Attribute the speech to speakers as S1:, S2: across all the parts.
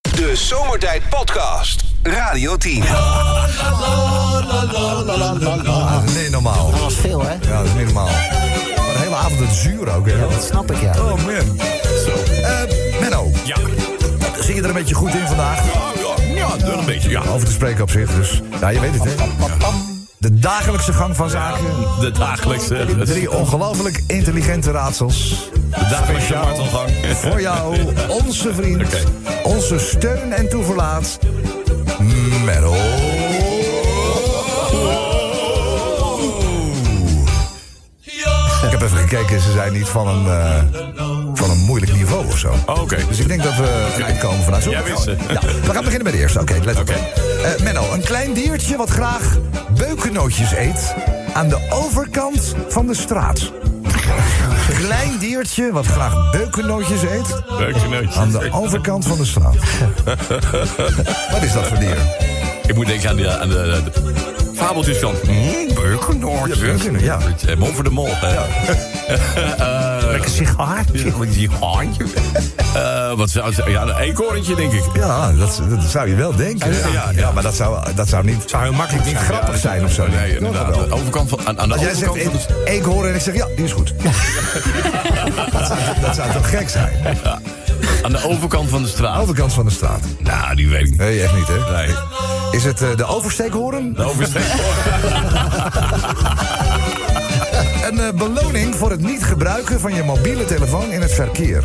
S1: De Zomertijd Podcast. Radio 10.
S2: Ah, nee, normaal.
S3: Dat was veel, hè?
S2: Ja, dat is niet normaal. Maar de hele avond het zuur ook, hè?
S3: Dat snap ik, ja.
S2: Oh, man. Zo. Eh, Menno.
S4: Ja,
S2: Zie je er een beetje goed in vandaag?
S4: ja, ja, ja, wel een beetje, ja.
S2: Over te spreken op zich, dus... Ja, je weet het, hè? De dagelijkse gang van zaken.
S4: De dagelijkse, de
S2: Drie ongelooflijk intelligente raadsels.
S4: dagelijkse
S2: Speciaal
S4: marathongang.
S2: Voor jou, onze vriend,
S4: Oké.
S2: onze steun en toeverlaat, Merel. Ik heb even gekeken, ze zijn niet van een, eh, van een moeilijk niveau of zo.
S4: Oh, Oké.
S2: Dus ik denk dat we een eind komen vanuit. Zullen we
S4: Jij
S2: gaan-
S4: wist
S2: Ja,
S4: het.
S2: Nou, we gaan beginnen bij de eerste. Oké, let op.
S4: Oké.
S2: Eh, Menno, een klein diertje wat graag beukennootjes eet... aan de overkant van de straat. klein diertje wat graag beukennootjes eet...
S4: Leuk genootje.
S2: aan de overkant van de straat. wat is dat voor dier?
S4: Ik moet denken aan de, aan de, de fabeltjes van mm, Beukennoord.
S2: Ja, Beukennoord, ja.
S4: Eh, Mom voor de mol. hè. Eh,
S2: Lekker sigaar.
S4: ja, met die haantje. Eh, wat zou het- Ja, een eekhoorntje, denk ik.
S2: Ja, dat, dat zou je wel denken. Ja, ja, maar dat zou, dat zou niet... Zou heel makkelijk niet grappig
S4: Ja,
S2: zijn of zo.
S4: Nee, inderdaad. Aan de overkant van, aan, aan de
S2: Als jij zegt
S4: overkant van de
S2: ik, ik hoor en ik zeg ja, die is goed. dat, zou, dat zou toch gek zijn?
S4: Ja. Aan de overkant van de straat.
S2: Overkant van de straat.
S4: Nou, die weet ik niet.
S2: Nee, echt niet, hè?
S4: Nee.
S2: Is het eh, de oversteekhoorn?
S4: De oversteek.
S2: Een eh, beloning voor het niet gebruiken van je mobiele telefoon in het verkeer.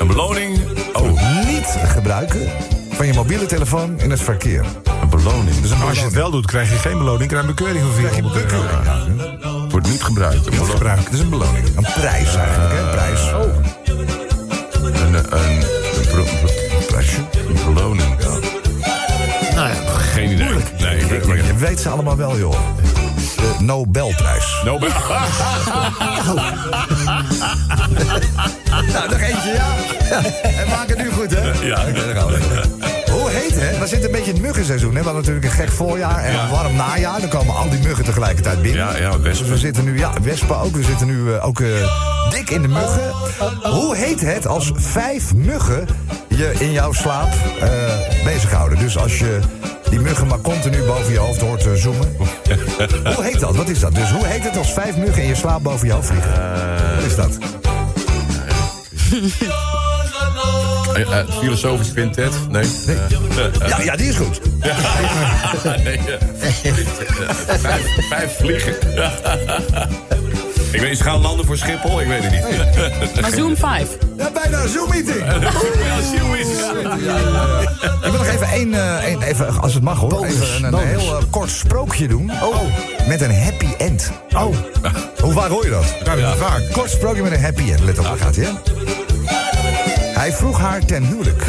S4: Een beloning. Oh,
S2: Niet gebruiken van je mobiele telefoon in het verkeer.
S4: een beloning. Dus een
S5: Maar als je het wel doet, krijg je geen beloning, krijg je een bekeuring van
S2: Krijg je
S5: 400 euro.
S2: bekeuring.
S5: Ja.
S2: Ja,
S4: wordt niet gebruikt. Een beloning.
S5: Gebruik. Dat is een beloning.
S2: Een prijs eigenlijk, hè? Een prijs.
S4: Een, eh, een, een, pro- een
S2: prijsje.
S4: pro- een beloning. Geen idee. Nee, ik weet het maar
S2: Je
S4: niet.
S2: weet ze allemaal wel, joh. De Nobelprijs.
S4: Nobel. Ah,
S2: Nou, nog eentje, ja. En maak het nu goed, hè?
S4: Ja.
S2: Oké, daar gaan we. Hoe heet, hè? We zitten een beetje in het muggenseizoen, hè? We hadden natuurlijk een gek voorjaar en
S4: Ja.
S2: een warm najaar. Dan komen al die muggen tegelijkertijd binnen.
S4: Ja, ja, wespen.
S2: Dus we zitten nu, ja, wespen ook. We zitten nu eh, ook eh, dik in de muggen. Hoe heet het als vijf muggen je in jouw slaap eh, bezighouden? Dus als je die muggen maar continu boven je hoofd hoort eh, zoomen. hoe heet dat? Wat is dat? Dus hoe heet het als vijf muggen in je slaap boven je hoofd vliegen? Wat is dat?
S4: Eh, eh, het filosofisch quintet? Nee.
S2: Nee.
S4: eh,
S2: Ja, ja, die is goed.
S4: nee eh, eh, vijf, vijf vliegen. ik weet niet, ze gaan landen voor Schiphol? Ik weet het niet.
S6: Maar Zoom 5.
S2: Ja, bijna een Zoom-meeting.
S4: Als je hoe is het?
S2: Ik wil nog even één, eh, één- even, als het mag hoor, even een, een heel eh, kort sprookje doen. Oh. Met een happy end. Oh. Hoe vaak hoor je dat?
S5: Nou, dat is vaak.
S2: Kort sprookje met een happy end. Let op, daar gaat hij. hè? Hij vroeg haar ten huwelijk.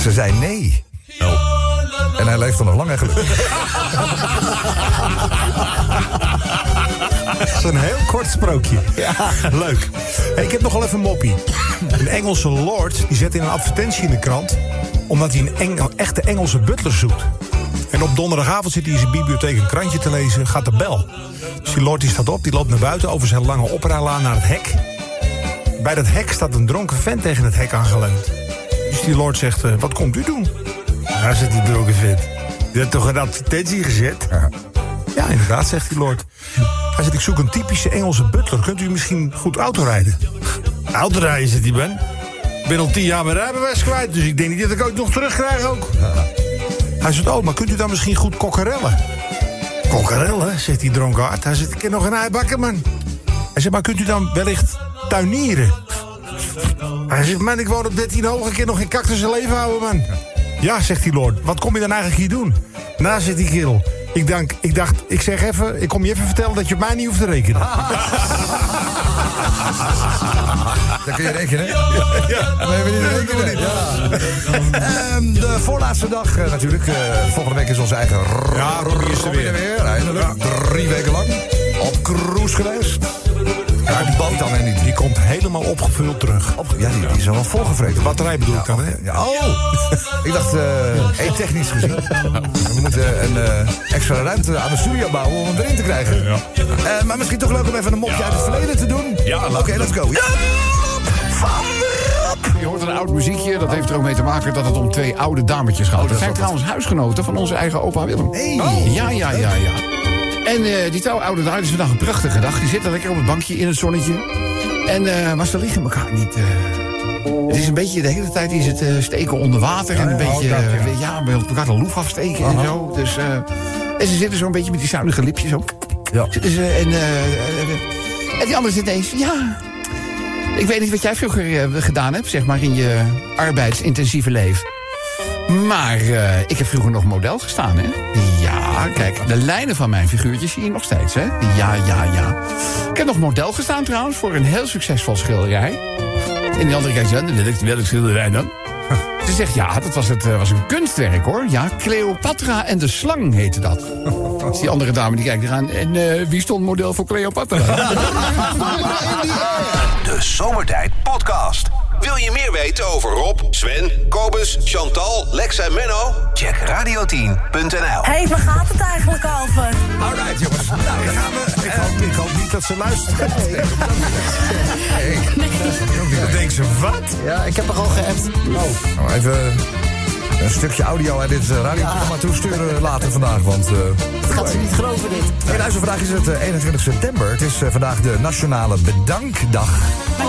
S2: Ze zei nee.
S4: Nou,
S2: En hij leeft dan nog lang en gelukkig.
S5: Dat is een heel kort sprookje. Ja. Leuk. Hey, ik heb nog wel even een moppie. Een Engelse lord die zet in een advertentie in de krant... omdat hij een, Eng- een echte Engelse butler zoekt. En op donderdagavond zit hij in zijn bibliotheek een krantje te lezen... gaat de bel. Dus die lord die staat op, die loopt naar buiten... over zijn lange operalaan naar het hek. Bij dat hek staat een dronken vent tegen het hek aangeleund. Dus die lord zegt, eh, wat komt u doen? Daar zit die dronken vent. Die had toch een advertentie gezet? Ja, inderdaad, zegt die lord. Hij zegt, ik zoek een typische Engelse butler. Kunt u misschien goed autorijden? Autorijden, zegt hij, Ben. Ik ben al tien jaar mijn rijbewijs kwijt, dus ik denk niet dat ik ooit nog terugkrijg ook. Hij zegt, oh, maar kunt u dan misschien goed kokkerellen? Kokkerellen, zegt die dronkaard. Hij zegt, ik ken nog een ei bakken, man. Hij zegt, maar kunt u dan wellicht tuinieren? Hij zegt, man, ik woon op 13 hoog, ik kan nog geen cactus in leven houden, man. Ja, zegt die lord, wat kom je dan eigenlijk hier doen? Na zit die kerel. Ik, dank, ik dacht, ik zeg even, ik kom je even vertellen dat je op mij niet hoeft te rekenen.
S2: Daar kun je rekenen. hè? Nee, we niet rekenen. Ja. Ehm, de voorlaatste dag eh, natuurlijk. Eh, volgende week is onze eigen
S5: Ja, Robbie is er
S2: Robin
S5: weer.
S2: Eindelijk. Drie weken lang. Op cruise geweest. Ja, die band dan en niet.
S5: Die komt helemaal opgevuld terug.
S2: Op, ja, die, die is al wel volgevreten.
S5: De batterij bedoel ik dan, hè?
S2: Ja, oh! ik dacht, eh hey, technisch gezien. We moeten een eh, extra ruimte aan de studio bouwen om hem erin te krijgen. Eh, maar misschien toch leuk om even een mopje uit het verleden te doen.
S4: Ja,
S2: Oké,
S4: laten we
S2: let's go. Ja, Rob van Rob!
S3: je hoort een oud muziekje. Dat heeft er ook mee te maken dat het om twee oude dametjes gaat. Oh, dat zijn trouwens huisgenoten van onze eigen opa Willem. Oh. Ja, ja, ja, ja. En eh, die trouwe oude dame is vandaag een prachtige dag. Die zitten lekker op het bankje in het zonnetje. En, eh, maar ze liggen elkaar niet... eh. het is een beetje de hele tijd is het eh, steken onder water. en een
S2: ja,
S3: beetje,
S2: oh, dat, ja.
S3: eh, ja. bij elkaar de loef afsteken en zo. Dus, eh, en ze zitten zo'n beetje met die zuinige lipjes zo.
S2: Ja.
S3: Zitten ze en, eh, eh, en die andere zit ineens... Ja, ik weet niet wat jij vroeger eh, gedaan hebt, zeg maar, in je arbeidsintensieve leven. Maar eh, ik heb vroeger nog model gestaan, hè? Ja, kijk, de lijnen van mijn figuurtjes zie je nog steeds, hè? Ja, ja, ja. Ik heb nog model gestaan trouwens voor een heel succesvol schilderij. En die andere kijkt, ja, welk, welk schilderij dan? Ze zegt, ja, dat was, het, eh, was een kunstwerk, hoor. Ja, Cleopatra en de slang heette dat. Dus die andere dame die kijkt eraan. En eh, wie stond model voor Cleopatra?
S1: De Zomertijd Podcast. Wil je meer weten over Rob, Sven, Kobus, Chantal, Lex en Menno? Check radio10.nl.
S7: Hé, hey, waar gaat het eigenlijk over?
S2: Alright, jongens. Nou, dan gaan we.
S5: Ik hoop, ik hoop niet dat ze luistert. Dan denkt ze, wat?
S8: Ja, ik heb er al geappt.
S2: Nou, even een stukje audio aan dit eh, radioprogramma toesturen later vandaag. Want eh,
S8: Dat gaat ze niet geloven, dit.
S2: Hey, luister, vandaag is het eh, 21 september. Het is eh, vandaag de Nationale Bedankdag.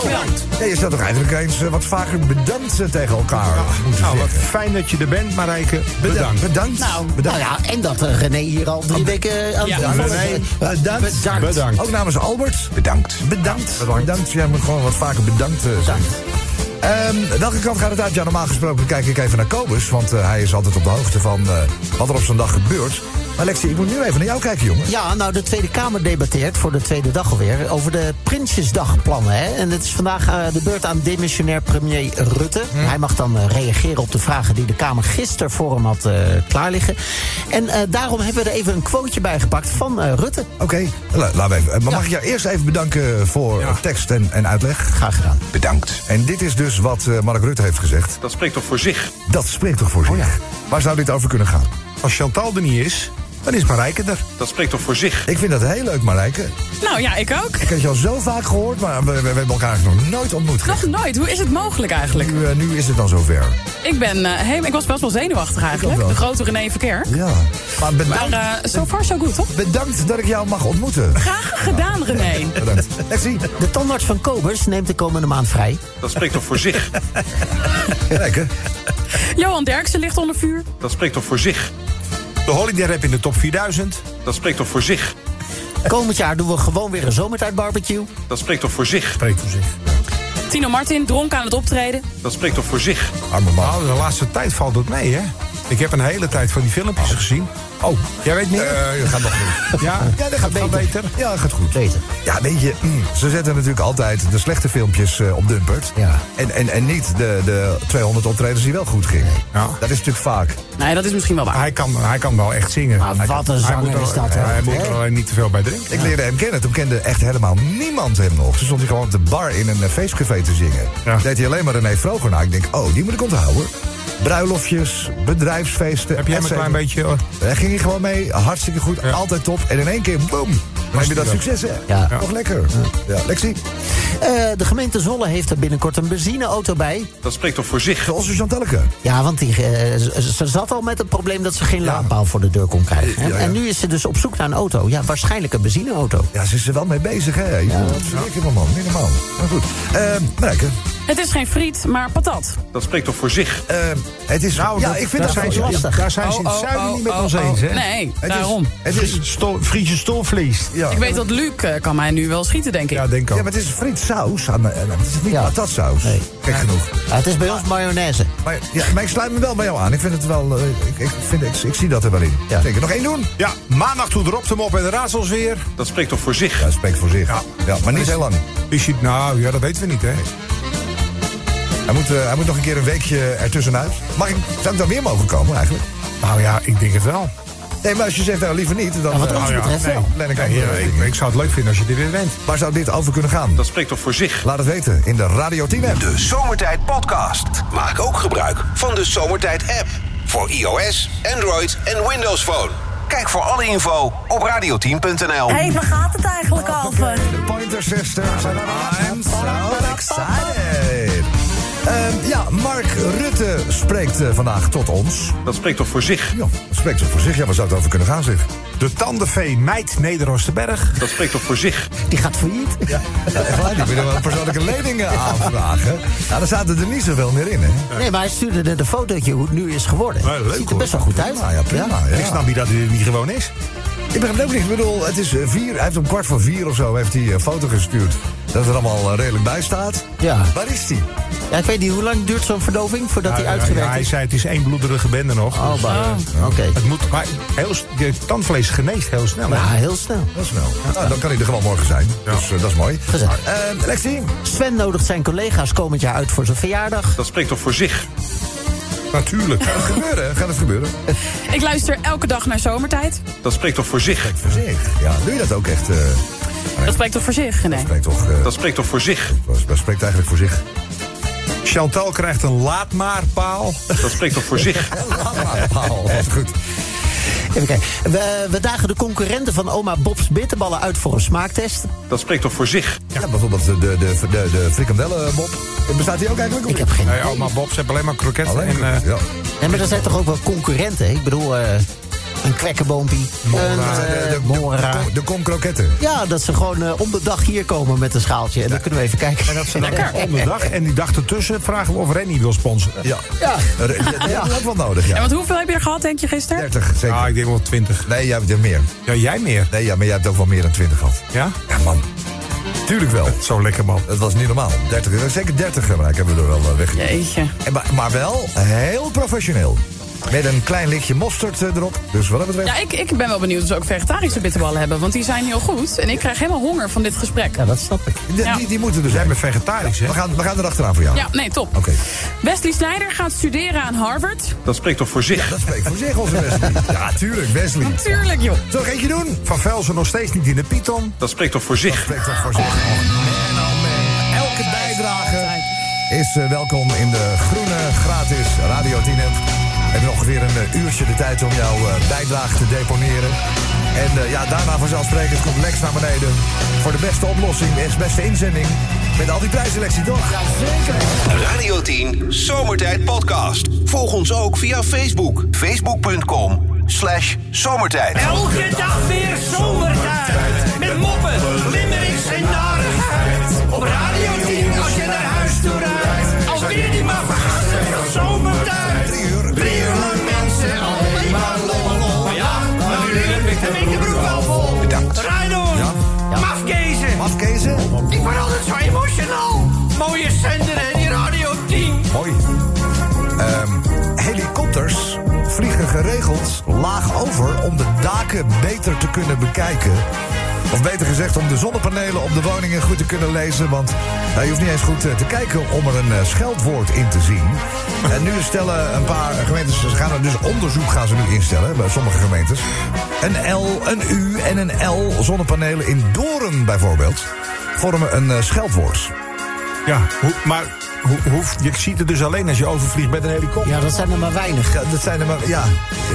S6: Bedankt.
S2: Nee, je zou toch eigenlijk eens eh, wat vaker bedankt eh, tegen elkaar moeten
S5: Nou, wat
S2: zeggen.
S5: fijn dat je er bent, Marijke. Bedankt.
S2: Bedankt.
S8: Nou,
S2: bedankt.
S8: nou ja, en dat eh, René hier al drie weken aan
S6: Ja,
S8: het invallen
S5: René,
S8: is.
S2: bedankt.
S8: Bedankt.
S5: Bedankt.
S2: Ook namens Albert. Bedankt. Bedankt. Bedankt. Jij moet gewoon wat vaker bedankt eh, zeggen. Ehm, welke kant gaat het uit? Ja, normaal gesproken kijk ik even naar Kobus. Want eh, hij is altijd op de hoogte van eh, wat er op zo'n dag gebeurt. Maar Lexie, ik moet nu even naar jou kijken, jongen.
S8: Ja, nou, de Tweede Kamer debatteert voor de tweede dag alweer over de Prinsjesdagplannen. Hè? En het is vandaag eh, de beurt aan demissionair premier Rutte.
S2: Hm.
S8: Hij mag dan eh, reageren op de vragen die de Kamer gisteren voor hem had eh, klaarliggen. En eh, daarom hebben we er even een quoteje bij gepakt van eh, Rutte.
S2: Oké, la- laat me even. Eh, Maar mag ik jou eerst even bedanken voor eh, tekst en, en uitleg?
S8: Graag gedaan.
S2: Bedankt. En dit is dus wat eh, Mark Rutte heeft gezegd.
S9: Dat spreekt toch voor zich?
S2: Dat spreekt toch voor zich? Waar zou dit over kunnen gaan?
S5: Als Chantal er niet is, dan is Marijke er.
S9: Dat spreekt toch voor zich?
S2: Ik vind dat heel leuk, Marijke.
S6: Nou ja, ik ook.
S2: Ik heb je al zo vaak gehoord, maar we, we- we hebben elkaar eigenlijk nog nooit ontmoet.
S6: Nog nooit. Hoe is het mogelijk eigenlijk?
S2: Nu, eh, nu is het dan zover.
S6: Ik ben eh, helemaal... Ik was best wel zenuwachtig eigenlijk.
S2: ook wel.
S6: De grote René Verkeer.
S2: Ja. Maar
S6: Maar
S2: bedankt,
S6: eh so far so good, toch?
S2: bedankt dat ik jou mag ontmoeten.
S6: Graag gedaan, René.
S2: Bedankt. Lexie.
S8: De tandarts van Kobers neemt de komende maand vrij.
S9: Dat spreekt toch voor zich?
S2: Lekker.
S6: Johan Derksen ligt onder vuur.
S9: Dat spreekt toch voor zich?
S5: De Holiday Rap in de top 4000.
S9: Dat spreekt toch voor zich?
S8: Komend jaar doen we gewoon weer een zomertijdbarbecue.
S9: Dat spreekt toch voor zich?
S5: Spreekt voor zich.
S6: Tino Martin, dronken aan het optreden.
S9: Dat spreekt toch voor zich?
S2: Arme man.
S5: Nou, de laatste tijd valt het mee, hè? Ik heb een hele tijd van die filmpjes gezien. Oh, jij weet meer?
S2: Eh, dat gaat nog goed.
S5: ja? ja, dat gaat wel beter.
S2: Ja, dat gaat goed.
S8: Beter.
S2: Ja, weet je, mm, ze zetten natuurlijk altijd de slechte filmpjes eh, op Dumpert.
S8: Ja.
S2: En, en, en niet de, de 200 optredens die wel goed gingen.
S5: Ja.
S2: Dat is natuurlijk vaak.
S6: Nee, dat is misschien wel waar.
S5: Hij kan, hij kan wel echt zingen.
S8: Maar
S5: Hij
S8: wat
S5: kan-
S8: een
S5: hij
S8: zanger
S5: moet er-
S8: is dat, hè?
S5: Hij moet er alleen niet te veel bij drinken.
S2: Ik leerde hem kennen. Toen kende echt helemaal niemand hem nog. Toen stond hij gewoon op de bar in een eh, feestcafé te zingen.
S5: Ja.
S2: Deed hij alleen maar René Vroger na. Ik denk, oh, die moet ik onthouden. Bruiloftjes, bedrijfsfeesten.
S5: Heb jij hem
S2: et
S5: een klein
S2: cetera.
S5: beetje... eh,
S2: Daar ging hij gewoon mee. Hartstikke goed.
S5: Ja.
S2: Altijd top. En in één keer, boom. Dan heb je dat
S5: hij
S2: succes, hè?
S8: Ja.
S2: Nog lekker. Ja. Lexi,
S8: Eh, de gemeente Zolle heeft er binnenkort een benzineauto bij.
S9: Dat spreekt toch voor zich?
S2: onze Chantelke.
S8: Ja, want die, eh, ze ze zat al met het probleem dat ze geen laadpaal voor de deur kon krijgen. hè?
S2: Ja, ja.
S8: En nu is ze dus op zoek naar een auto. Ja, waarschijnlijk een benzineauto.
S2: Ja, ze is er wel mee bezig, hè? Ja. Dat is lekker, man. Niet normaal. Maar goed. Ehm Marijke,
S6: Het is geen friet, maar patat.
S9: Dat spreekt toch voor zich?
S2: ehm, het is...
S5: Nou,
S2: ja,
S5: dat-
S2: ik vind dat
S5: daar zijn
S2: wel
S5: ze,
S2: lastig.
S8: lastig.
S5: Daar zijn ze in het
S6: Oh, oh,
S5: zuiden
S6: oh,
S5: niet met
S6: oh,
S5: ons
S6: oh.
S5: eens, hè?
S6: Nee,
S2: Het is-
S6: daarom.
S2: Het is...
S5: Stol, Friese stolvlees.
S2: Ja.
S6: Ik weet dat Luc eh, kan mij nu wel schieten, denk ik.
S5: Ja, denk
S2: Ja,
S5: ook.
S2: maar het is friet saus. Aan, eh, het is niet
S8: Ja.
S2: patatsaus.
S8: Nee.
S2: Gek genoeg.
S8: Ja, het is bij ons mayonaise.
S2: Maar, ja, maar ik sluit me wel bij jou aan. Ik vind het wel... eh, ik, ik, vind, ik, ik zie dat er wel in.
S8: Ja.
S2: Zeker. Nog één doen?
S5: Ja, maandag toen dropt hem op en de raadsels weer.
S9: Dat spreekt toch voor zich?
S2: Ja, spreekt voor zich. Ja. maar niet heel lang.
S5: Is je,
S2: Oh,
S5: nou ja, dat weten we niet, hè?
S2: Hij moet, eh, hij moet nog een keer een weekje ertussenuit. Mag ik, zou ik dan weer mogen komen eigenlijk?
S5: Nou ja, ik denk het wel.
S2: Nee, maar als je zegt nou liever niet, dan...
S8: Ja, wat
S2: eh,
S8: ons
S2: nou ja,
S8: betreft
S2: nee,
S8: wel.
S2: plan ik
S5: Nee,
S2: ook
S5: ja,
S2: wel.
S5: ik, ik zou het leuk vinden als je er weer bent.
S2: Waar zou dit over kunnen gaan?
S9: Dat spreekt toch voor zich?
S2: Laat het weten in de Radio 10 app.
S1: De Zomertijd Podcast. Maak ook gebruik van de Zomertijd app. Voor iOS, Android en Windows Phone. Kijk voor alle info op radio10.nl.
S7: Hé, hey, waar gaat het eigenlijk over?
S2: De Pointer Sisters. I'm so excited. Ehm, ja, Mark Rutte spreekt eh, vandaag tot ons.
S9: Dat spreekt toch voor zich?
S2: Ja, spreekt zo voor zich. Ja, waar zou het over kunnen gaan, zeg?
S5: De tandenvee Meid Nederoosterberg.
S9: Dat spreekt toch voor zich?
S8: Die gaat failliet.
S2: Ja, echt waar, die willen wel persoonlijke leningen aanvragen. Nou, daar zaten er niet zoveel meer in, hè?
S8: Nee, maar hij stuurde net een fotootje hoe het nu is geworden.
S5: Ja, Nou, leuk,
S8: Ziet er
S5: hoor.
S8: best wel goed uit.
S2: Nou ja, prima.
S5: Ik snap niet dat dit niet gewoon is.
S2: Ik begrijp het ook niet. Ik bedoel, het is eh, vier. Hij heeft om kwart voor vier of zo heeft hij een foto gestuurd. Dat er allemaal eh, redelijk bij staat.
S8: Ja.
S2: Waar is die?
S8: Ja, ik weet niet, hoe lang duurt zo'n verdoving voordat hij
S5: Ja, ja, ja,
S8: uitgewerkt
S5: hij
S8: is?
S5: zei het is één bloederige bende nog.
S8: Oh,
S5: Dus,
S8: bah.
S5: eh,
S8: Oké.
S5: Het moet, maar heel, s- je tandvlees geneest heel snel. hè?
S8: Ja, heel snel.
S2: Dat is snel. Nou, dan kan hij er gewoon morgen zijn. Dus eh, dat is mooi.
S8: Gezellig.
S2: Eh, Lexi,
S8: Sven nodigt zijn collega's komend jaar uit voor zijn verjaardag.
S9: Dat spreekt toch voor zich?
S5: Natuurlijk.
S2: gaat het gebeuren? Gaat het gebeuren?
S6: Ik luister elke dag naar zomertijd.
S9: Dat spreekt toch voor zich?
S2: Voor zich. Ja, doe je dat ook echt? eh
S6: Dat spreekt toch voor zich? Nee.
S2: spreekt toch, eh,
S9: Dat spreekt toch voor zich?
S2: dat spreekt eigenlijk voor zich.
S5: Chantal krijgt een laatmaarpaal.
S9: Dat spreekt toch voor zich?
S2: Paal, wat goed.
S8: Even kijken. We, we dagen de concurrenten van oma Bob's bitterballen uit voor een smaaktest.
S9: Dat spreekt toch voor zich?
S2: Ja, bijvoorbeeld de, de, de, de, de frikandellenbob. Bestaat die ook eigenlijk? of
S8: Ik
S2: niet?
S8: heb geen
S5: Nee,
S8: idee.
S5: oma Bob, ze hebben alleen maar kroketten.
S2: Alleen.
S5: en, eh,
S2: ja.
S8: Nee, maar er zijn toch ook wel concurrenten? Ik bedoel, eh, een kwekkenboompie, een
S2: Maar de,
S8: eh,
S2: de, de,
S8: mora.
S2: de, de komkroketten.
S8: Ja, dat ze gewoon eh, om de dag hier komen met een schaaltje. En dan kunnen we even kijken.
S5: en dat ze dan om de dag. En die dag ertussen vragen we of Rennie wil sponsoren.
S2: Ja. Ja. ja. Dat is wel nodig,
S6: En
S2: ja.
S6: want hoeveel heb je er gehad, denk je, gisteren?
S2: 30, zeker.
S5: Ah, ik denk wel 20.
S2: Nee, jij hebt er meer.
S5: Ja, jij meer.
S2: Nee, ja, maar jij hebt ook wel meer dan 20 gehad.
S5: Ja?
S2: Ja, man. Tuurlijk wel.
S5: Zo lekker, man.
S2: Dat was niet normaal. 30, euro. zeker 30 gebruik hebben we er wel eh, weggegeven.
S6: Jeetje.
S2: En Maar, maar wel heel professioneel. Met een klein lichtje mosterd eh, erop. Dus wat dat betreft.
S6: Ja, ik, ik ben wel benieuwd of ze ook vegetarische bitterballen hebben. Want die zijn heel goed. En ik krijg helemaal honger van dit gesprek.
S8: Ja, dat snap ik.
S2: die-
S6: ja.
S2: Die, die moeten er zijn.
S5: Jij bent vegetarisch, hè?
S2: We gaan, we gaan erachteraan voor jou.
S6: Ja, nee, top.
S2: Oké.
S6: Wesley Snijder gaat studeren aan Harvard.
S9: Dat spreekt toch voor zich?
S2: Dat spreekt voor zich, onze Wesley. Ja, tuurlijk, Wesley.
S6: Tuurlijk, joh.
S2: Zullen we er eentje doen?
S5: Van Velsen nog steeds niet in de Python.
S9: Dat spreekt toch voor zich?
S2: Spreekt toch voor zich. Man, oh man. Elke bijdrage is eh, welkom in de groene gratis Radio 10 app. We hebben ongeveer een eh, uurtje de tijd om jouw eh, bijdrage te deponeren. En eh, ja, daarna vanzelfsprekend komt Lex naar beneden. Voor de beste oplossing en beste inzending. Met al die prijsselectie, toch?
S1: Radio 10 Zomertijd Podcast. Volg ons ook via Facebook. Facebook.com slash zomertijd.
S10: Elke dag weer zomertijd. Met moppen, limmerings en narigheid. Op Radio 10 als je naar huis toe rijdt. Alweer die maffe van zomertijd. Drie uur, drie uur lang mensen, alleen maar lol. Maar ja, nu heb ik de broek wel vol.
S2: Bedankt.
S10: Rijdon, mafkezen.
S2: Afkezen?
S10: Ik word altijd zo emotional. Mooie zender en die Radio 10.
S2: Mooi. Ehm, helikopters vliegen geregeld laag over om de daken beter te kunnen bekijken. Of beter gezegd, om de zonnepanelen op de woningen goed te kunnen lezen. Want nou, je hoeft niet eens goed eh, te kijken om er een eh, scheldwoord in te zien. En nu stellen een paar gemeentes, ze gaan er dus onderzoek gaan ze nu instellen bij sommige gemeentes. Een L, een U en een L zonnepanelen in Doren bijvoorbeeld vormen een eh, scheldwoord.
S5: Ja, hoe- maar hoe, hoe- je ziet het dus alleen als je overvliegt met een helikopter.
S8: Ja, dat zijn er maar weinig.
S2: Ja, dat zijn er maar, ja.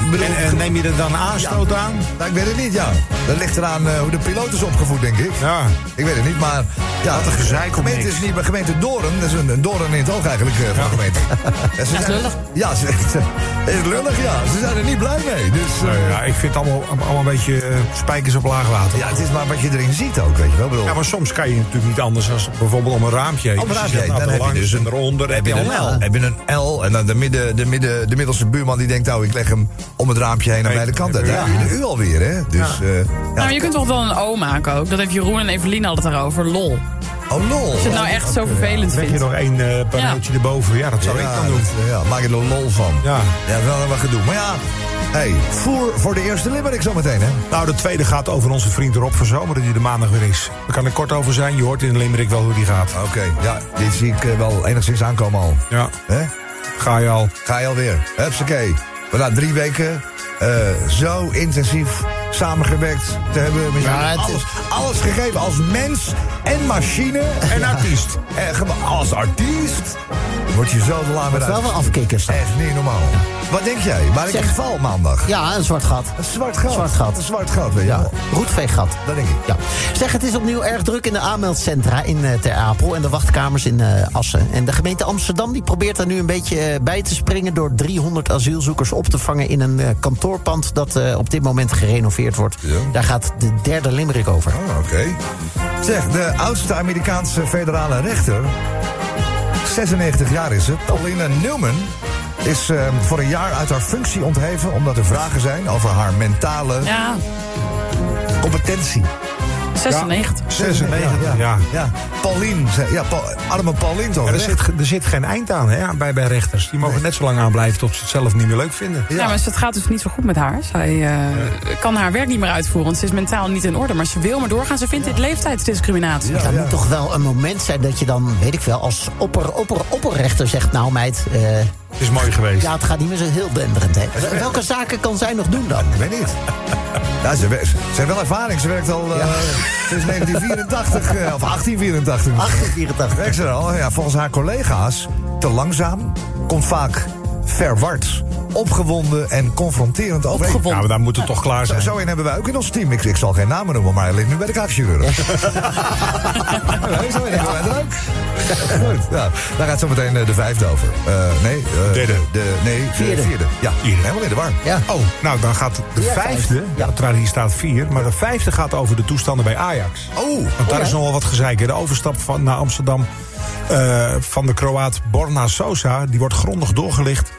S2: Ik bedoel,
S5: En, eh, neem je er dan aanstoot aan?
S2: Nou, ik weet het niet, ja. Dat ligt eraan eh, hoe de piloot is opgevoed, denk ik.
S5: Ja.
S2: Ik weet het niet, maar... Ja, Wat een gezeik gemeente is niet, maar gemeente Doorn. Dat is een, een Doorn in het oog eigenlijk eh, van de gemeente. En ze
S6: is
S2: zijn-
S6: lullig.
S2: Ja, ze, ze- is lullig, ja. Ze zijn er niet blij mee. Dus, eh,
S5: ja, ik vind het allemaal, allemaal een beetje eh, spijkers op laag water.
S2: ja, het is maar wat je erin ziet ook, weet je wel. Ik bedoel,
S5: Ja, maar soms kan je natuurlijk niet anders als bijvoorbeeld om een raampje heen.
S2: Om een
S5: Dus je
S2: raampje
S5: zegt,
S2: heen, dan
S5: nou, de
S2: heb je
S5: langs
S2: dus
S5: en eronder heb
S2: heb
S5: je
S2: je
S5: al
S2: een L?
S5: wel.
S2: Heb je een L? En dan de, midden, de, midden, de middelste buurman die denkt, nou, ik leg hem om het raampje heen aan
S5: Nee,
S2: beide kanten.
S5: nee,
S2: Daar heb je de U alweer, hè? Dus, eh,
S6: Nou,
S2: ja.
S6: maar je kunt toch wel een O maken ook? Dat heeft Jeroen en Evelien altijd daarover. Lol. Als
S2: Oh, lol.
S6: je het nou echt zo vervelend
S5: Leg je
S6: vindt.
S5: nog één eh, paneeltje erboven? Ja, dat zou ik dan doen.
S2: dat, ja, maak je er lol van.
S5: Ja.
S2: Ja, wel wat gedoe. Maar ja, hey, voer voor de eerste limerick zometeen, hè?
S5: Nou, de tweede gaat over onze vriend Rob van Zomeren, die de maandag weer is. Daar kan ik kort over zijn. Je hoort in Limerick wel hoe die gaat.
S2: Oké, ja, dit zie ik eh, wel enigszins aankomen al.
S5: Ja,
S2: Hè?
S5: ga je al.
S2: Ga je alweer. Hupsakee. We na drie weken eh, zo intensief samengewerkt te hebben. Met jullie.
S8: het-
S2: alles, alles gegeven als mens en machine en artiest. En gewoon als artiest word je zo de laan weer
S8: Wordt
S2: uit.
S8: wel wel afkikkers.
S2: Echt niet normaal. Wat denk jij? Waar ik
S8: Zeg.
S2: een val maandag?
S8: Ja, een zwart gat.
S2: Een zwart gat.
S8: Zwart gat.
S2: Een zwart gat, weet je
S8: Ja,
S2: wel.
S8: roetveeggat.
S2: Dat denk ik.
S8: Ja. Zeg, het is opnieuw erg druk in de aanmeldcentra in eh, Ter Apel en de wachtkamers in eh, Assen. En de gemeente Amsterdam die probeert daar nu een beetje eh, bij te springen door 300 asielzoekers op te vangen in een eh, kantoorpand dat eh, op dit moment gerenoveerd wordt. Daar gaat de derde limerick over.
S2: Oh, oké. Zeg, de oudste Amerikaanse federale rechter, 96 jaar is het, Paulina Newman, is eh, voor een jaar uit haar functie ontheven omdat er vragen zijn over haar mentale
S6: Ja,
S2: competentie.
S6: 96.
S5: 96,
S2: Ja, ja.
S5: ja.
S2: ja. Paulien, zei- ja, Paul, arme Paulien toch?
S5: Maar er,
S2: recht?
S5: zit, ge- er zit geen eind aan hè, bij, bij rechters. Die mogen net zo lang aanblijven tot ze het zelf niet meer leuk vinden.
S6: Ja, maar het gaat dus niet zo goed met haar. Zij eh, kan haar werk niet meer uitvoeren, want ze is mentaal niet in orde. Maar ze wil maar doorgaan. Ze vindt dit leeftijdsdiscriminatie.
S8: Dat moet toch wel een moment zijn dat je dan, weet ik wel, als opper, opper, opperrechter zegt... nou meid, eh,
S5: Het is mooi geweest.
S8: ja, het gaat niet meer zo heel denderend, hè. Welke zaken kan zij nog doen dan?
S2: Ik weet niet. Ja, ze, we- ze heeft wel ervaring. Ze werkt al eh, sinds 1984 eh, of 1884.
S8: 1884.
S2: Werkt ze er al? Ja, volgens haar collega's te langzaam, komt vaak verward, opgewonden en confronterend over.
S5: Ja, Nou, maar daar moet het toch klaar
S2: Zo,
S5: zijn.
S2: zo een hebben wij ook in ons team. Ik, ik zal geen namen noemen, maar hij ligt nu bij de kaakchirurg. Nee, zo een hebben wij er ook. Goed, nou, daar gaat zo meteen eh, de vijfde over. Eh, nee, eh,
S5: Derde.
S2: De, nee, de vierde.
S8: Vierde.
S2: Ja, helemaal in de war.
S8: Ja.
S5: Oh, nou dan gaat de vijfde,
S8: Ja.
S5: ja. terwijl hier staat vier, maar de vijfde gaat over de toestanden bij Ajax.
S2: Oh,
S5: Want daar is nogal wat gezeik. hè. De overstap van, naar Amsterdam eh, van de Kroaat Borna Sosa... die wordt grondig doorgelicht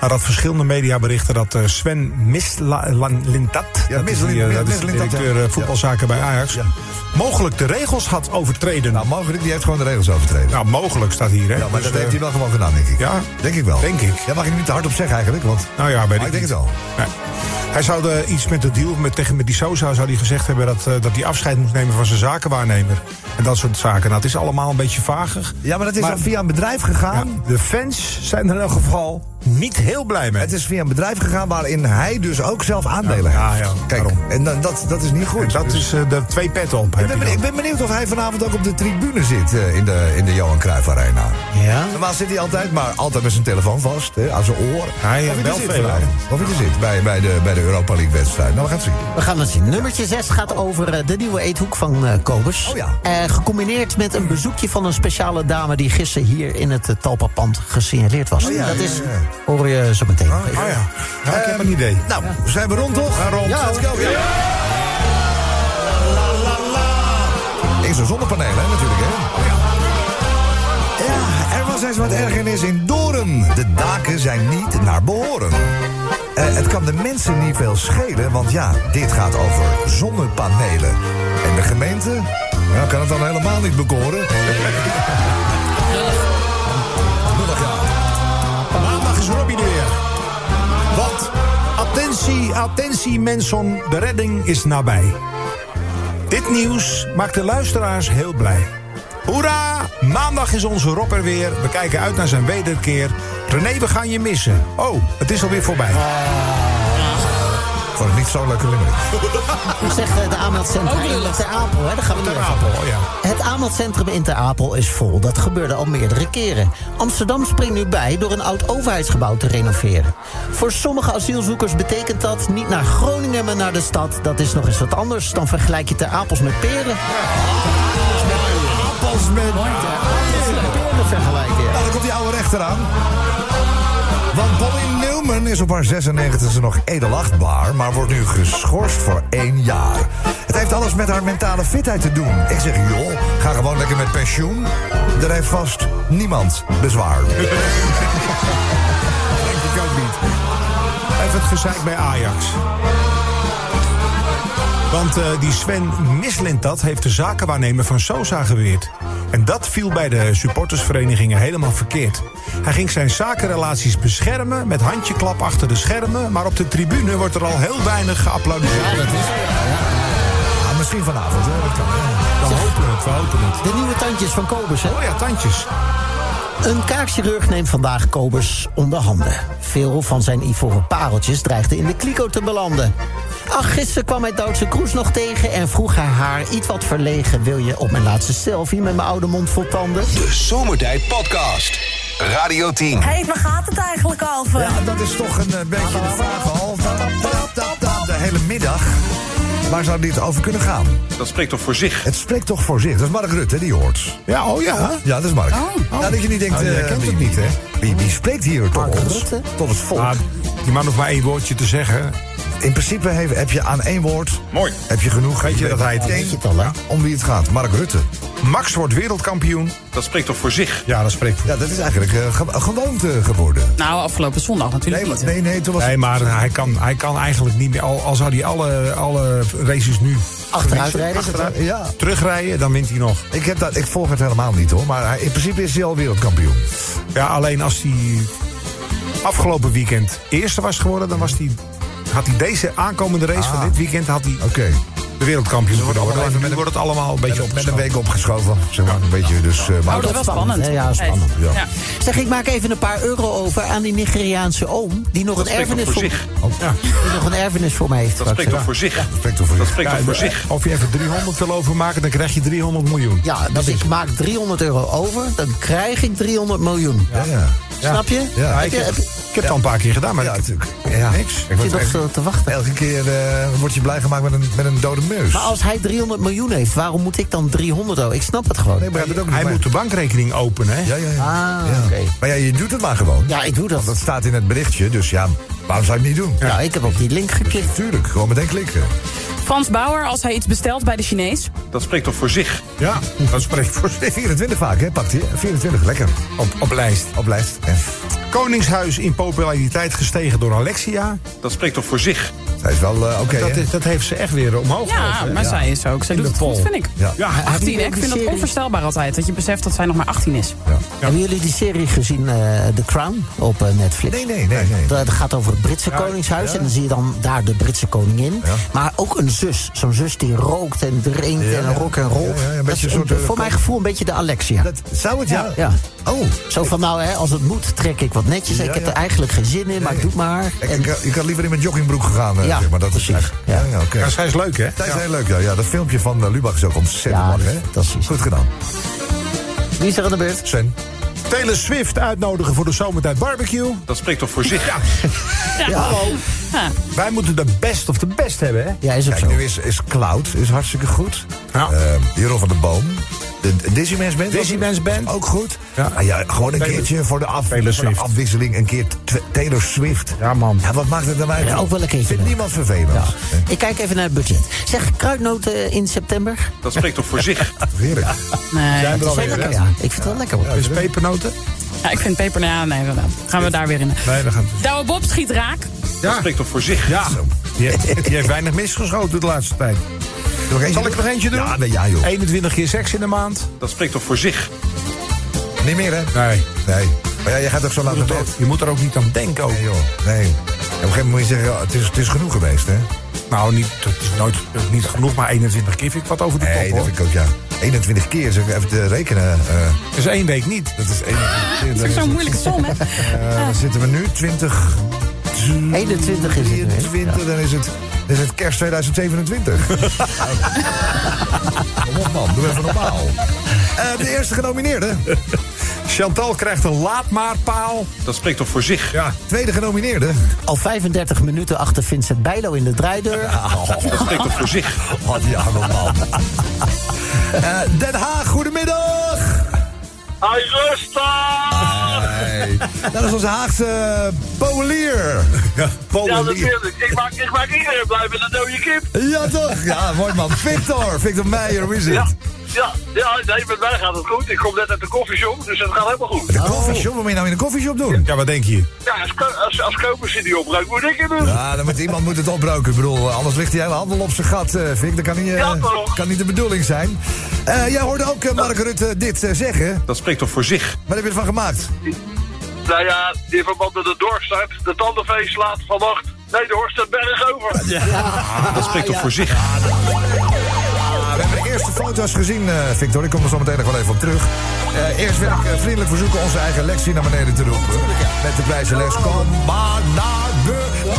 S5: nadat verschillende media berichten... dat eh, Sven Mislintat,
S2: Ja,
S5: dat is die,
S2: Mislin-
S5: eh, dat is de
S2: Mislintat,
S5: directeur
S2: ja.
S5: eh, voetbalzaken bij Ajax...
S2: Ja.
S5: mogelijk de regels had overtreden.
S2: nou, mogelijk, die heeft gewoon de regels overtreden.
S5: Nou, mogelijk staat hier, hè.
S2: Ja, maar
S5: Dus,
S2: dat
S5: eh,
S2: heeft hij wel gewoon gedaan, denk ik.
S5: Ja.
S2: Denk ik wel.
S5: Denk ik.
S2: Ja, mag je er niet te hard op zeggen eigenlijk, want...
S5: Nou ja, weet
S2: Maar ik denk
S5: niet.
S2: het al.
S5: Nee. Hij zou de- iets met de deal, met, tegen met die Sosa zou hij gezegd hebben... dat eh, dat hij afscheid moest nemen van zijn zakenwaarnemer. En dat soort zaken. Nou, het is allemaal een beetje vagig.
S2: Ja, maar dat is
S5: Maar-
S2: dan via een bedrijf gegaan.
S5: Ja, de fans zijn er in elk geval niet heel blij mee.
S2: Het is via een bedrijf gegaan waarin hij dus ook zelf aandelen
S5: Ja, Ah,
S2: heeft.
S5: ja, ja.
S2: Kijk,
S5: Daarom.
S2: en dan, dat, dat is niet
S5: En
S2: goed. Dus
S5: dat is eh, de twee pet op.
S2: Ik ben,
S5: heb je
S2: benieuwd, ik
S5: dan.
S2: ben benieuwd of hij vanavond ook op de tribune zit eh, in, de, in de Johan Cruijff Arena.
S8: Ja?
S2: Normaal zit hij altijd, maar altijd met zijn telefoon vast, hè, aan zijn oor.
S5: Hij, eh,
S2: of hij er
S5: belt
S2: zit
S5: veel
S2: vanavond. Of hij er zit bij, bij, de, bij de Europa League wedstrijd. Nou, we gaan het zien.
S8: We gaan het zien. Nummertje 6 gaat over eh, de nieuwe eethoek van eh Kobus.
S2: Oh ja.
S8: Eh, gecombineerd met een bezoekje van een speciale dame... die gisteren hier in het eh, Talpa-pand gesignaleerd was.
S2: Oh ja,
S8: dat
S2: ja,
S8: is,
S2: ja.
S8: hoor je zo meteen. nog
S5: Oh
S2: Ah,
S8: even.
S5: ja, Ja, ik heb een idee.
S2: Nou, zijn we rond toch? rond.
S8: Ja,
S2: let's go. Ja. In zo'n zonnepaneel, hè, natuurlijk, hè? Ja, er was eens wat ergernis in Doorn. De daken zijn niet naar behoren. Eh, het kan de mensen niet veel schelen, want ja, dit gaat over zonnepanelen. En de gemeente ja, kan het dan helemaal niet bekoren. Lullig, ja.
S5: Maandag is Robbie er weer. Want, attentie, attentie mensen, de redding is nabij. Dit nieuws maakt de luisteraars heel blij. Hoera! Maandag is onze Rob er weer. We kijken uit naar zijn wederkeer. René, we gaan je missen. Oh, het is alweer voorbij.
S2: Vond ik niet zo leuke limerick.
S8: Ik zeg eh, de aanmeldcentrum
S6: Ook
S8: in
S6: lullig.
S8: Ter Apel. Hè, daar gaan we nu
S5: Ter
S8: even op.
S5: Apel, Oh, ja.
S8: Het aanmeldcentrum in Ter Apel is vol. Dat gebeurde al meerdere keren. Amsterdam springt nu bij door een oud overheidsgebouw te renoveren. Voor sommige asielzoekers betekent dat niet naar Groningen, maar naar de stad. Dat is nog eens wat anders. Dan vergelijk je Ter Apels met peren.
S2: Appels met...
S8: Peren vergelijken, ja.
S2: Nou, dan komt die oude rechter aan. Want Bonnie Newman is op haar 96e nog edelachtbaar... maar wordt nu geschorst voor één jaar. Het heeft alles met haar mentale fitheid te doen. Ik zeg, joh, ga gewoon lekker met pensioen. Daar heeft vast niemand bezwaar.
S5: Denk ik ook niet. Even het gezeik bij Ajax. Want eh, die Sven Mislintat heeft de zakenwaarnemer van Sosa geweerd. En dat viel bij de supportersverenigingen helemaal verkeerd. Hij ging zijn zakenrelaties beschermen met handjeklap achter de schermen... maar op de tribune wordt er al heel weinig geapplaudiseerd.
S2: Ah, misschien vanavond, hè. Dat kan, hè.
S5: We hopen het, we hopen het.
S8: De nieuwe tandjes van Kobus, hè?
S5: Oh ja, tandjes.
S8: Een kaakchirurg neemt vandaag Kobus onder handen. Veel van zijn ivoren pareltjes dreigden in de kliko te belanden. Ach, gisteren kwam hij Duitse Kroes nog tegen en vroeg hij haar iets wat verlegen... wil je op mijn laatste selfie met mijn oude mond vol tanden?
S1: De Zomertijd Podcast. Radio 10.
S7: Hé, hey, waar gaat het eigenlijk over?
S2: Ja, dat is toch een eh, beetje de vraag al. De hele middag. Waar zou dit over kunnen gaan?
S9: Dat spreekt toch voor zich?
S2: Het spreekt toch voor zich. Dat is Mark Rutte, die hoort.
S5: Ja, oh ja.
S2: Ja, dat is Mark. Nou, dat je niet denkt,
S5: Oh, jij
S2: eh,
S5: kent
S2: wie,
S5: het niet, hè?
S2: Wie, wie spreekt hier tot
S8: Mark
S2: ons?
S8: Rutte?
S2: Tot het volk.
S5: Maar Ah, die man hoeft maar één woordje te zeggen.
S2: In principe heb, heb je aan één woord...
S9: Mooi.
S2: Heb je genoeg.
S5: Weet je dat hij het-
S2: meteen
S8: Weet je het al, hè?
S2: Om wie het gaat. Mark Rutte.
S5: Max wordt wereldkampioen.
S9: Dat spreekt toch voor zich?
S5: Ja, dat spreekt voor.
S2: Ja, dat is eigenlijk eh, ge- een gewoonte geworden.
S6: Nou, afgelopen zondag natuurlijk
S2: Nee, maar-
S6: niet.
S2: nee, nee, toen was
S5: Nee, maar nou, hij kan, hij kan eigenlijk niet meer. Al, al zou hij alle, alle races nu
S9: Nou,
S8: Achteruit rijden.
S2: Achteruit, ja,
S5: terugrijden, dan wint hij nog.
S2: ik, heb dat, ik volg het helemaal niet hoor. Maar hij- in principe is hij al wereldkampioen.
S5: Ja, alleen als hij afgelopen weekend eerste was geworden, dan was hij, had hij deze aankomende race van dit weekend had hij
S2: Ah. Oké. Dus
S5: de wereldkampioen geworden.
S2: allemaal
S5: Alleen
S2: even
S5: nu
S2: met
S5: wordt het allemaal een beetje
S2: Met, met een week
S5: opgeschoven.
S2: opgeschoven. Zeg maar, een beetje dus. eh, maar
S6: Oh, dat was spannend.
S8: hè? Ja, spannend,
S6: Hey.
S2: ja.
S8: Zeg, ik maak even een paar euro over aan die Nigeriaanse oom... die nog, een
S9: spreekt toch
S8: erfenis
S9: voor
S8: voor,
S9: zich?
S5: Ja.
S8: die nog een erfenis voor mij heeft.
S9: Dat
S8: straks,
S9: spreekt
S8: hè?
S9: toch voor zich?
S2: respect voor je.
S9: Dat spreekt
S5: Ja,
S9: toch voor
S5: en,
S9: zich?
S5: eh, Of je even 300 wil overmaken, dan krijg je 300 miljoen.
S8: Ja, dus ik maak 300 euro over, dan krijg ik 300 miljoen.
S2: Ja, ja.
S8: Snap je?
S2: Ja,
S8: Heb
S5: ik,
S8: je-
S5: heb,
S8: heb
S5: ik
S8: je-
S5: heb het al een paar keer gedaan, maar
S2: Ja,
S5: ik-
S2: natuurlijk. Ja.
S5: niks.
S2: Ik word
S8: zit nog
S2: echt-
S8: zo te wachten.
S2: elke keer eh, word je blij gemaakt met een, met een dode meus.
S8: Maar als hij 300 miljoen heeft, waarom moet ik dan 300 euro? Ik snap het gewoon.
S2: nee, maar het ook niet
S5: Hij
S2: mee.
S5: moet de bankrekening openen, hè?
S2: Ja, ja, ja.
S8: Ah,
S2: Ja.
S8: oké.
S2: Maar ja, je doet het maar gewoon.
S8: Ja, ik doe dat.
S2: Dat staat in het berichtje, dus ja, waarom zou je het niet doen?
S8: Ja, ik heb op die link geklikt.
S2: Tuurlijk, gewoon meteen klikken.
S6: Frans Bauer, als hij iets bestelt bij de Chinees.
S9: Dat spreekt toch voor zich?
S5: Ja, dat spreekt voor zich.
S2: Nee, 24 vaak, hè? Pakt hij. 24, lekker.
S5: Op, op lijst.
S2: Op lijst. hè.
S5: Koningshuis in populariteit gestegen door Alexia.
S9: Dat spreekt toch voor zich?
S2: Hij is wel eh, oké,
S5: Dat,
S2: hè?
S5: is- dat heeft ze echt weer omhoog
S6: Ja,
S5: gehouden, hè?
S6: maar zij is ook. Zij doet
S5: de
S6: het goed,
S5: poll.
S6: vind ik.
S2: Ja.
S5: Ja, hij-
S6: 18, hè?
S8: ook
S6: Ik
S8: die
S6: vind dat
S8: serie?
S6: onvoorstelbaar altijd. Dat je beseft dat zij nog maar 18 is.
S8: Hebben jullie die serie gezien, eh, The Crown, op eh, Netflix?
S2: Nee, nee, nee, nee.
S8: Dat gaat over het Britse koningshuis. En dan zie je dan daar de Britse koningin. Maar ook een zus. Zo'n zus die rookt en drinkt
S2: Ja,
S8: en een
S2: ja.
S8: rock en roll.
S2: Ja, ja, een
S8: Dat
S2: beetje
S8: is
S2: een soort, eh,
S8: voor mijn gevoel een beetje de Alexia.
S2: Dat, zou het, ja?
S8: Ja.
S2: Oh,
S8: Zo van, nou hè, als het moet trek ik wat netjes.
S2: Ja,
S8: ik heb
S2: ja.
S8: er eigenlijk geen zin in, maar ik doe het maar.
S2: ik,
S8: En-
S2: ik, ik had liever in mijn joggingbroek gegaan, eh,
S8: Ja,
S2: zeg maar. Dat is
S8: precies.
S2: echt. Ja,
S8: Ja.
S2: ja, oké.
S5: Ja, zij is leuk, hè?
S2: Dat is heel leuk, ja. ja. Dat filmpje van eh, Lubach is ook ontzettend
S8: Ja,
S2: mooi,
S8: dat is
S2: hè?
S8: fantastisch.
S2: Goed gedaan.
S8: Wie is er aan de beurt?
S2: Sven.
S5: Taylor Swift uitnodigen voor de zomertijd barbecue.
S9: Dat spreekt toch voor zich?
S5: Wij moeten de best of de best hebben, hè?
S8: Ja, is ook
S2: Kijk,
S8: zo.
S2: nu is, is Cloud is hartstikke goed.
S5: Ja.
S2: Eh, Jeroen van de Boom. De de Dizzy-Mans Band. was-
S5: Dizzy-Mans
S2: was
S5: Band.
S2: Ook goed.
S5: Ja.
S2: Ah ja, gewoon een
S5: Taylor-
S2: keertje voor de, af, voor
S5: Taylor
S2: de
S5: Swift.
S2: afwisseling. Een keer t- Taylor Swift.
S5: Ja, man.
S2: Ja, wat maakt het dan uit?
S8: Ja, ook wel een keertje
S2: Vindt
S8: leuk.
S2: niemand vervelend.
S8: Ja.
S2: Eh,
S8: Ik kijk even naar het budget. Zeg, kruidnoten in september?
S9: Dat spreekt toch voor zich?
S2: Heerlijk.
S6: Nee.
S5: Zijn we er
S8: Dat is wel
S5: alweer,
S8: lekker,
S5: hè?
S8: ja. Ik vind het wel lekker. hoor.
S5: Is pepernoten?
S6: Ja, ik vind peper... Ja, nee, dan gaan we daar weer in.
S5: Nee, we gaan...
S6: Douwe Bob schiet raak.
S9: Dat spreekt toch voor zich?
S5: Ja, die heeft, die heeft weinig misgeschoten de laatste tijd.
S2: Nog eentje
S5: Zal ik er nog eentje doen?
S2: Ja, nee, ja joh.
S5: 21 keer seks in de maand.
S9: Dat spreekt toch voor zich?
S2: Eh, Niet meer, hè?
S5: Nee.
S2: Nee. Maar ja, jij gaat ook zo laat naar bed.
S5: Je moet er ook niet aan denken. Ook.
S2: Nee, joh. Nee. En Op een gegeven moment moet je zeggen, ja, het is, het is genoeg geweest, hè?
S5: Nou, niet, het is nooit niet genoeg, maar 21 keer vind ik wat over de
S2: Nee,
S5: top,
S2: dat
S5: hoor.
S2: vind ik ook, ja. 21 keer, zeg even te rekenen. eh,
S5: Dat is Dus één week niet.
S2: dat is 21 keer.
S6: Dat is ook zo'n moeilijke som, hè?
S2: Eh, Waar zitten we nu? 20...
S8: 21 is het nu, hè?
S2: 23, dan is het, dan is het kerst 2027. Kom op, man. Doe even normaal. Eh, de eerste genomineerde.
S5: Chantal krijgt een laadmaatpaal.
S9: Dat spreekt toch voor zich?
S5: Ja.
S2: Tweede genomineerde.
S8: Al 35 minuten achter Vincent Bijlo in de draaideur.
S9: Dat spreekt toch voor zich?
S2: Wat die arme man. Eh, Den Haag, goedemiddag.
S10: Hij rustig!
S2: Hey. Dat is onze Haagse polier. Ja,
S10: Ja, natuurlijk. Ik maak, ik maak iedereen blij met een dode kip.
S2: Ja, toch? Ja, mooi man. Victor, Victor Meijer, hoe is het?
S10: Ja, ja, ja, nee, met mij gaat het goed. Ik kom net uit de koffieshop, dus het gaat helemaal goed.
S2: De koffieshop, wat moet je nou in de koffieshop doen?
S5: Ja, wat denk je?
S10: Ja, als, ko- als, als kopers in die opbruik moet ik het doen.
S2: Ja, Ah, dan moet, iemand moet het opbroken. Ik bedoel, eh, anders ligt die hele handel op zijn gat, eh Vic. Dat kan niet, eh,
S10: Ja, toch?
S2: kan niet de bedoeling zijn. Eh, jij hoorde ook eh, Mark Rutte dit eh, zeggen.
S9: Dat spreekt toch voor zich?
S2: Wat heb je ervan gemaakt?
S10: Nou ja, in verband met de dorstart, de tandenfeest laat vannacht. Nee, de Horst berg over.
S9: Dat spreekt toch voor zich?
S2: Ah, we hebben de eerste foto's gezien, eh, Victor. Ik kom er zo meteen nog wel even op terug. Eh, eerst wil ik eh, vriendelijk verzoeken onze eigen Lexi naar beneden te roepen. Met de prijzenles. Kom maar naar beneden!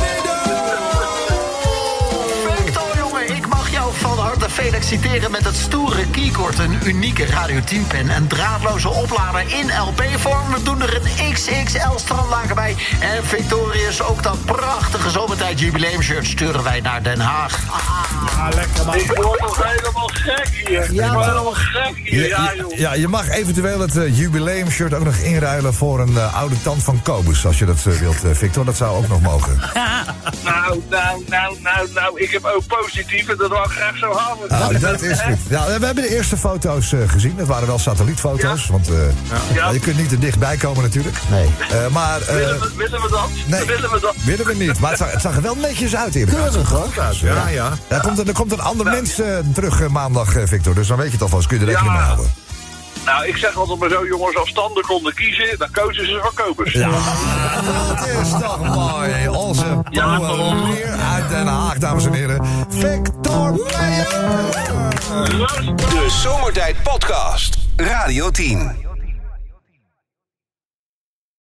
S8: exciteren met het stoere keycord, een unieke Radio 10 pen, een draadloze oplader in LP-vorm. We doen er een XXL strandlaken bij. En Victorious, ook dat prachtige zomertijd jubileumshirt sturen wij naar Den Haag.
S11: Ah, lekker man.
S9: Ik word nog helemaal gek hier. Nou,
S8: Ja,
S9: ik
S8: man.
S9: word helemaal gek hier. Ja, joh.
S5: Ja, je mag eventueel het eh, jubileumshirt ook nog inruilen voor een eh, oude tand van Kobus. Als je dat eh, wilt, eh, Victor. Dat zou ook nog mogen.
S9: Nou, nou, nou, nou, nou. Ik heb ook positieve, dat wil ik graag zo hebben.
S5: Nou, dat is goed. Ja, we hebben de eerste foto's eh, gezien. Dat waren wel satellietfoto's. Want eh, nou, je kunt niet er dichtbij komen natuurlijk. Nee. maar... eh,
S9: Willen we, willen we dat?
S5: Nee.
S9: Willen we dat?
S5: Willen we niet, maar het zag, het zag er wel netjes uit in.
S9: Keurig, hoor.
S5: Ja, ja. Daar komt, een- er komt een ander mens eh, terug eh, maandag, eh, Victor. Dus dan weet je het alvast. Kun je er rekening mee houden.
S9: Nou, ik zeg altijd maar zo, jongens, als standen konden kiezen, dan kozen ze voor kopers.
S5: Ja, dat is toch mooi. Onze pionier uit Den Haag, dames en heren. Victor Meijer.
S1: De Zomertijd Podcast. Radio 10.